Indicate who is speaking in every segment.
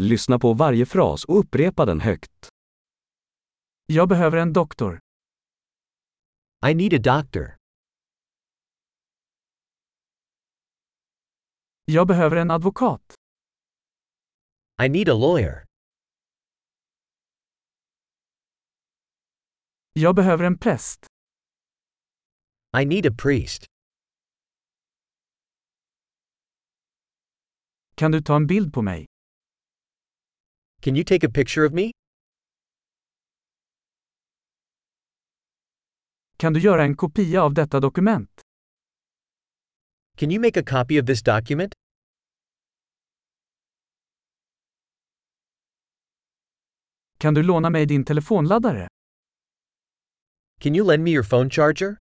Speaker 1: Lyssna på varje fras och upprepa den högt.
Speaker 2: Jag behöver en doktor.
Speaker 3: I need a doctor.
Speaker 2: Jag behöver en advokat.
Speaker 3: I need a lawyer.
Speaker 2: Jag behöver en präst.
Speaker 3: I need a priest.
Speaker 2: Kan du ta en bild på mig?
Speaker 3: Can you take a picture of me?
Speaker 2: Kan du göra en kopia av detta dokument?
Speaker 3: Can you make a copy of this document?
Speaker 2: Kan du låna mig din telefonladdare?
Speaker 3: Can you lend me your phone charger?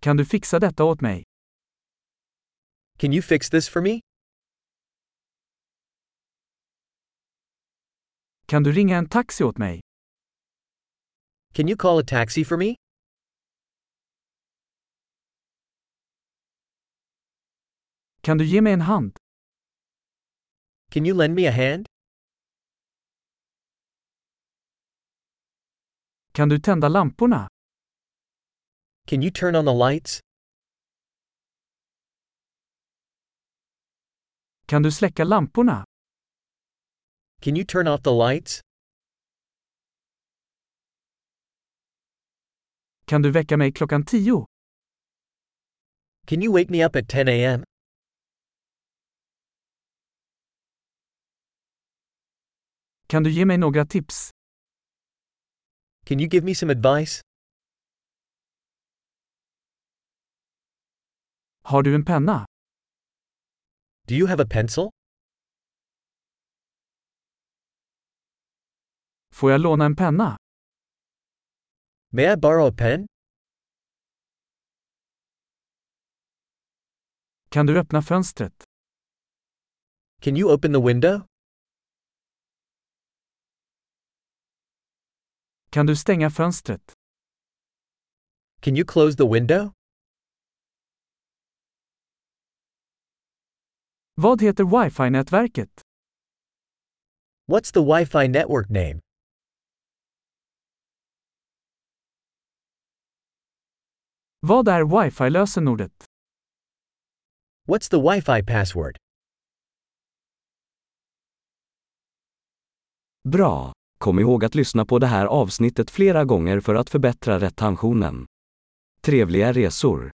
Speaker 2: Kan du fixa detta åt mig?
Speaker 3: Can you fix this for me?
Speaker 2: Kan du ringa en taxi åt mig?
Speaker 3: Can you call a taxi for me?
Speaker 2: Kan du ge mig en hand?
Speaker 3: Can you lend me a hand?
Speaker 2: Kan du tända lamporna?
Speaker 3: Can you turn on the lights?
Speaker 2: Kan du släcka lamporna?
Speaker 3: Can you turn off the lights?
Speaker 2: Kan du väcka mig klockan tio?
Speaker 3: Can you wake me up at 10 a.m.?
Speaker 2: Kan du ge mig några tips?
Speaker 3: Can you give me some advice?
Speaker 2: Har du en penna?
Speaker 3: Do you have a pencil?
Speaker 2: Får jag låna en penna?
Speaker 3: May I borrow a pen?
Speaker 2: Kan du öppna fönstret?
Speaker 3: Can you open the window?
Speaker 2: Kan du stänga fönstret?
Speaker 3: Can you close the window?
Speaker 2: Vad heter wifi-nätverket?
Speaker 3: What's the Wi Fi network name?
Speaker 2: Vad är wifi-lösenordet?
Speaker 3: What's the Wi Fi password?
Speaker 1: Bra! Kom ihåg att lyssna på det här avsnittet flera gånger för att förbättra retentionen. Trevliga resor!